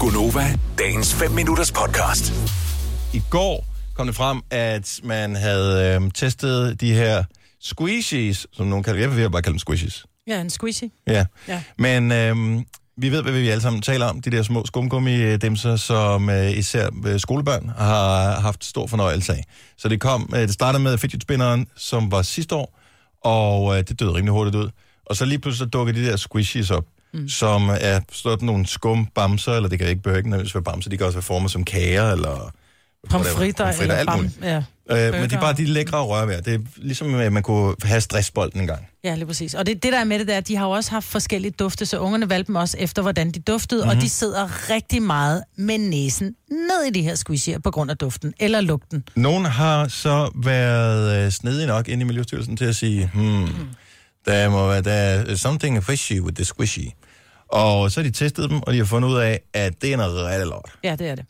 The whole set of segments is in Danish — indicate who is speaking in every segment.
Speaker 1: Gunova, dagens 5 minutters podcast.
Speaker 2: I går kom det frem, at man havde øh, testet de her squishies, som nogen kalder Jeg vil bare kalde dem squishies.
Speaker 3: Ja, en squishy.
Speaker 2: Ja.
Speaker 3: Ja.
Speaker 2: Men øh, vi ved, hvad vi alle sammen taler om. De der små skumgummi-demser, som øh, især øh, skolebørn har haft stor fornøjelse af. Så det kom, øh, det startede med fidget spinneren, som var sidste år, og øh, det døde rimelig hurtigt ud. Og så lige pludselig så dukker de der squishies op, mm. som er sådan nogle skumbamser, eller det kan ikke behøve ikke nødvendigvis være bamser, de kan også være formet som kager, eller...
Speaker 3: Pomfritter,
Speaker 2: Pomfritter,
Speaker 3: eller
Speaker 2: alt
Speaker 3: bam.
Speaker 2: muligt.
Speaker 3: Ja.
Speaker 2: Øh, men det er
Speaker 3: Burger.
Speaker 2: bare de lækre rørvær. Det er ligesom, at man kunne have stressbolden en gang.
Speaker 3: ja, lige præcis. Og det, det der er med det, der, at de har jo også haft forskellige dufte, så ungerne valgte dem også efter, hvordan de duftede,
Speaker 4: Mhm.
Speaker 3: mm-hmm. og de sidder rigtig meget med næsen ned i de her squishier på grund af duften, eller lugten.
Speaker 2: Nogen har så været øh, snedige nok inde i Miljøstyrelsen til at sige, hmm, der må være der er something fishy with the squishy. Og så har de testet dem, og de har fundet ud af, at det er noget rigtig lort.
Speaker 3: Ja, det er det.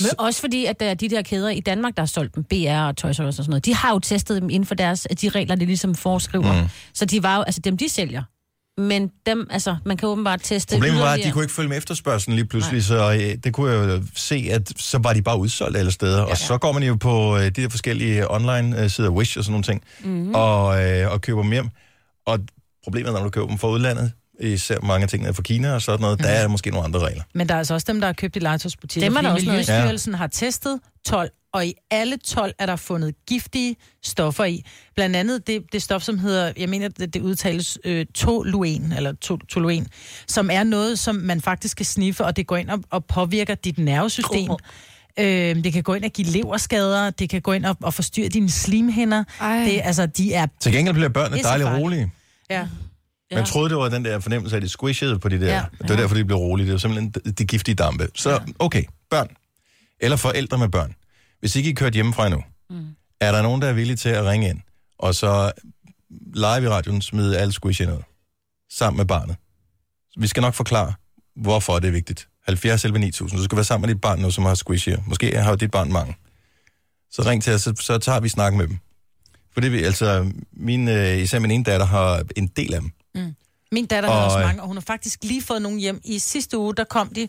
Speaker 4: Men også fordi, at der er de der kæder i Danmark, der har solgt dem, BR og Toys R Us og sådan noget, de har jo testet dem inden for deres, de regler, de ligesom foreskriver.
Speaker 2: Mhm.
Speaker 4: Mm. Så de var jo, altså dem, de sælger. Men dem, altså, man kan åbenbart teste
Speaker 2: Problemet var, at de
Speaker 4: yderligere.
Speaker 2: kunne ikke følge med efterspørgselen lige pludselig, Nej. så øh, det kunne jeg jo se, at så var de bare udsolgt alle steder. Ja, ja. Og så går man jo på øh, de der forskellige online-sider, Wish og sådan nogle ting, mm-hmm. og, øh, og køber dem hjem. Og problemet er, når du køber dem fra udlandet, især mange af tingene er fra Kina og sådan noget, mm-hmm. der er måske nogle andre regler.
Speaker 3: Men der er altså også dem, der har købt i legetøjsbutikker.
Speaker 4: Dem er der
Speaker 3: fordi
Speaker 4: også noget af.
Speaker 3: Miljøstyrelsen har testet 12, og i alle 12 er der fundet giftige stoffer i. Blandt andet det, det stof, som hedder, jeg mener, det, det udtales øh, toluen, eller to, toluen, som er noget, som man faktisk kan sniffe, og det går ind og, og påvirker dit nervesystem.
Speaker 4: Åh.
Speaker 3: Øh, det kan gå ind og give leverskader, det kan gå ind og, og forstyrre dine slimhinder.
Speaker 5: Ej.
Speaker 3: Det, altså, de er...
Speaker 2: Til gengæld bliver børnene
Speaker 3: Det er så
Speaker 2: dejligt
Speaker 3: farligt.
Speaker 2: rolige.
Speaker 3: Ja.
Speaker 2: Man troede, det var den der fornemmelse af, at de squishede på de der. Ja.
Speaker 4: Ja.
Speaker 2: Det var derfor, de blev rolige. Det var simpelthen de- de giftige dampe. Så okay, børn. Eller forældre med børn. Hvis ikke I er kørt hjemmefra endnu, mm. er der nogen, der er villige til at ringe ind, og så live i radioen smide alle squishene ud, sammen med barnet. Vi skal nok forklare, hvorfor det er vigtigt. 70 11 9000. Du skal være sammen med dit barn nu, som har squishier. Måske har dit barn mange. Så ring til os, så, så tager vi snakken med dem. For det vi, altså, min, øh, især min ene datter har en del af dem.
Speaker 3: Min datter har
Speaker 2: Og,
Speaker 3: også
Speaker 2: øh,
Speaker 3: mange, og hun har faktisk lige fået nogle hjem. I sidste uge, der kom de,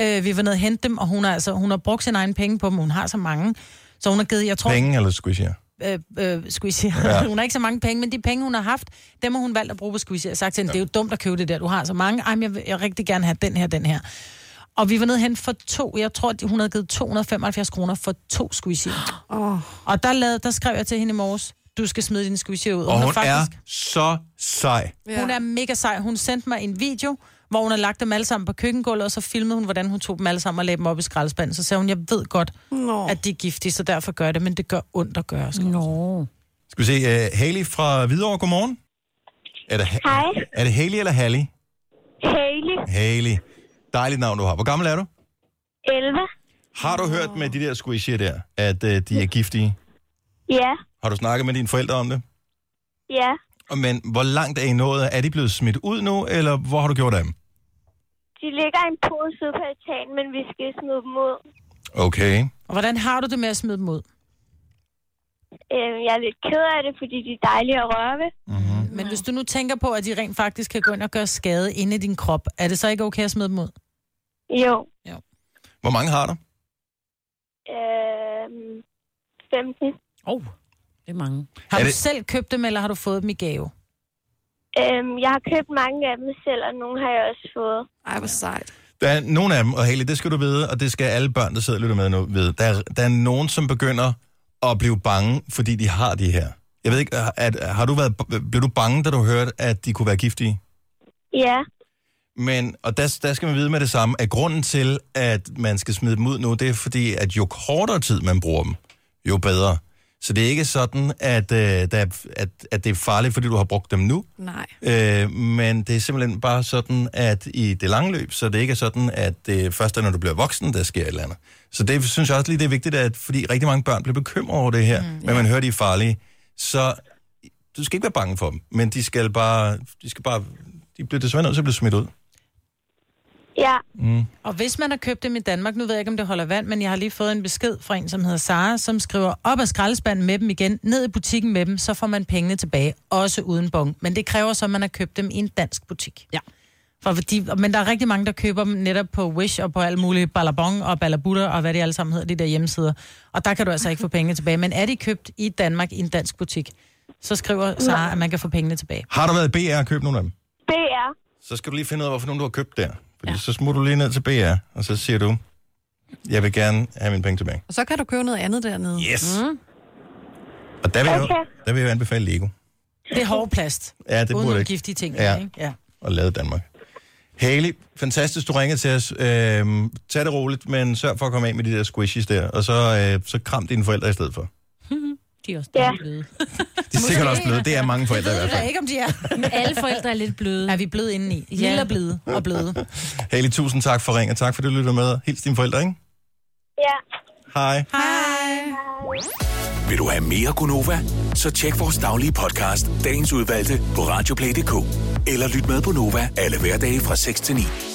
Speaker 3: øh, vi var nede og hente dem, og hun har, altså, hun har brugt sin egen penge på dem, hun har så mange. Så hun har givet, jeg tror,
Speaker 2: Penge eller squishier?
Speaker 3: øh, øh, squishy. Ja. hun har ikke så mange penge, men de penge, hun har haft, dem har hun valgt at bruge på squishy. Jeg har sagt til hende, det er jo dumt at købe det der, du har så mange. Ej, men jeg vil jeg vil rigtig gerne have den her, den her. Og vi var nede hen for to, jeg tror, at hun havde givet 275 kroner for to squishy.
Speaker 5: Åh.
Speaker 3: Og der, lavede, der skrev jeg til hende i morges, du skal smide din squishy ud.
Speaker 2: Og
Speaker 3: har
Speaker 2: hun er så sej.
Speaker 5: Ja.
Speaker 3: Hun er mega sej. Hun sendte mig en video, hvor hun har lagt dem alle sammen på køkkengulvet, og så filmede hun, hvordan hun tog dem alle sammen og lagde dem op i skraldespanden. Så sagde hun, jeg ved godt,
Speaker 5: Nå.
Speaker 3: at de er giftige, så derfor gør jeg det, men det gør ondt at gøre. Så.
Speaker 4: Nå.
Speaker 2: Skal vi se, uh, Haley fra Hvidovre, godmorgen. Er det, ha-
Speaker 6: Hej,
Speaker 2: er det Haley eller Hallie?
Speaker 6: Haley,
Speaker 2: Haley. Dejligt navn, du har. Hvor gammel er du?
Speaker 6: 11.
Speaker 2: Har du hørt med de der squishier der, at uh, de er giftige?
Speaker 6: Ja,
Speaker 2: Har du snakket med dine forældre om det?
Speaker 6: ja.
Speaker 2: Og Men hvor langt er I nået? Er de blevet smidt ud nu, eller hvor har du gjort af dem?
Speaker 6: De ligger i en pose ude på altanen, men vi skal smide dem ud.
Speaker 2: Okay.
Speaker 3: Og hvordan har du det med at smide dem ud?
Speaker 6: Øhm, jeg er lidt ked af det, fordi de er dejlige at røre ved.
Speaker 5: Mhm.
Speaker 3: Men hvis du nu tænker på, at de rent faktisk kan gå ind og gøre skade inde i din krop, er det så ikke okay at smide dem ud?
Speaker 6: Jo.
Speaker 2: Hvor mange har du?
Speaker 6: Øhm, 15.
Speaker 4: Åh, oh, det er mange.
Speaker 3: Har
Speaker 2: Er
Speaker 3: du
Speaker 2: det-
Speaker 3: selv købt dem, eller har du fået dem i gave?
Speaker 6: Øhm, jeg har købt mange af dem selv, og nogle har jeg også fået.
Speaker 5: Ej, hvor sejt.
Speaker 2: Der er nogle af dem, og Haley, det skal du vide, og det skal alle børn, der sidder og lytter med nu, vide. Der er, der er nogen, som begynder at blive bange, fordi de har de her. Jeg ved ikke, øh, at, har du været, blev du bange, da du hørte, at de kunne være giftige?
Speaker 6: Ja,
Speaker 2: Men, og der, der skal man vide med det samme, at grunden til, at man skal smide dem ud nu, det er fordi, at jo kortere tid man bruger dem, jo bedre. Så det er ikke sådan, at, øh, der, at, at det er farligt, fordi du har brugt dem nu.
Speaker 5: Nej.
Speaker 2: Øh, men det er simpelthen bare sådan, at i det lange løb, så det ikke er sådan, at det først er, når du bliver voksen, der sker et eller andet. Så det synes jeg også lige, det er vigtigt, at, fordi rigtig mange børn bliver bekymret over det her, mm, men man hører, de er farlige. Så du skal ikke være bange for dem, men de skal bare, de skal bare, de bliver desværre nødt til at blive smidt ud.
Speaker 6: ja.
Speaker 3: Og hvis man har købt dem i Danmark, nu ved jeg ikke, om det holder vand, men jeg har lige fået en besked fra en, som hedder Sara, som skriver op af skraldespanden med dem igen, ned i butikken med dem, så får man pengene tilbage, også uden bong. Men det kræver så, at man har købt dem i en dansk butik.
Speaker 4: Ja.
Speaker 3: For fordi, men der er rigtig mange, der køber dem netop på Wish og på alle mulige Ballabong og Ballabutter og hvad det alle sammen hedder, de der hjemmesider. Og der kan du altså ikke få pengene tilbage. Men er de købt i Danmark i en dansk butik, så skriver Sara, at man kan få pengene tilbage.
Speaker 2: Har du været i BR og købt nogle af dem?
Speaker 6: BR.
Speaker 2: Så skal du lige finde ud af, hvorfor nogen du har købt der. Fordi ja. så smutter du lige ned til BR, og så siger du, jeg vil gerne have mine penge tilbage.
Speaker 5: Og så kan du købe noget andet dernede.
Speaker 2: Yes! Mm. Og der vil, okay. jeg,
Speaker 6: Okay.
Speaker 2: der vil jeg anbefale Lego.
Speaker 3: Det er hård plast.
Speaker 2: Ja, det
Speaker 3: uden
Speaker 2: burde
Speaker 3: nogle
Speaker 2: ikke.
Speaker 3: giftige ting.
Speaker 2: Ja.
Speaker 3: Ikke? ja.
Speaker 2: og lavet i Danmark. Haley, fantastisk, du ringede til os. Øhm, tag det roligt, men sørg for at komme af med de der squishies der, og så, øh, så kram dine forældre i stedet for.
Speaker 4: De er også
Speaker 6: Ja.
Speaker 4: lidt bløde.
Speaker 2: De er sikkert også blevet. Det er mange forældre i hvert
Speaker 3: Jeg ved
Speaker 2: fald.
Speaker 3: ikke, om de er.
Speaker 4: Men alle forældre er lidt bløde.
Speaker 3: Er vi blevet inde i? Lille og blide og blide.
Speaker 2: Haley, tusind tak for ringen, og tak fordi du lytter med. Hils dine forældre, ikke?
Speaker 6: Ja.
Speaker 2: Hej.
Speaker 1: Vil du have mere Gunova? Så tjek vores daglige podcast, dagens udvalgte, på radioplay.dk. Eller lyt med på Nova alle hverdage fra 6 til 9.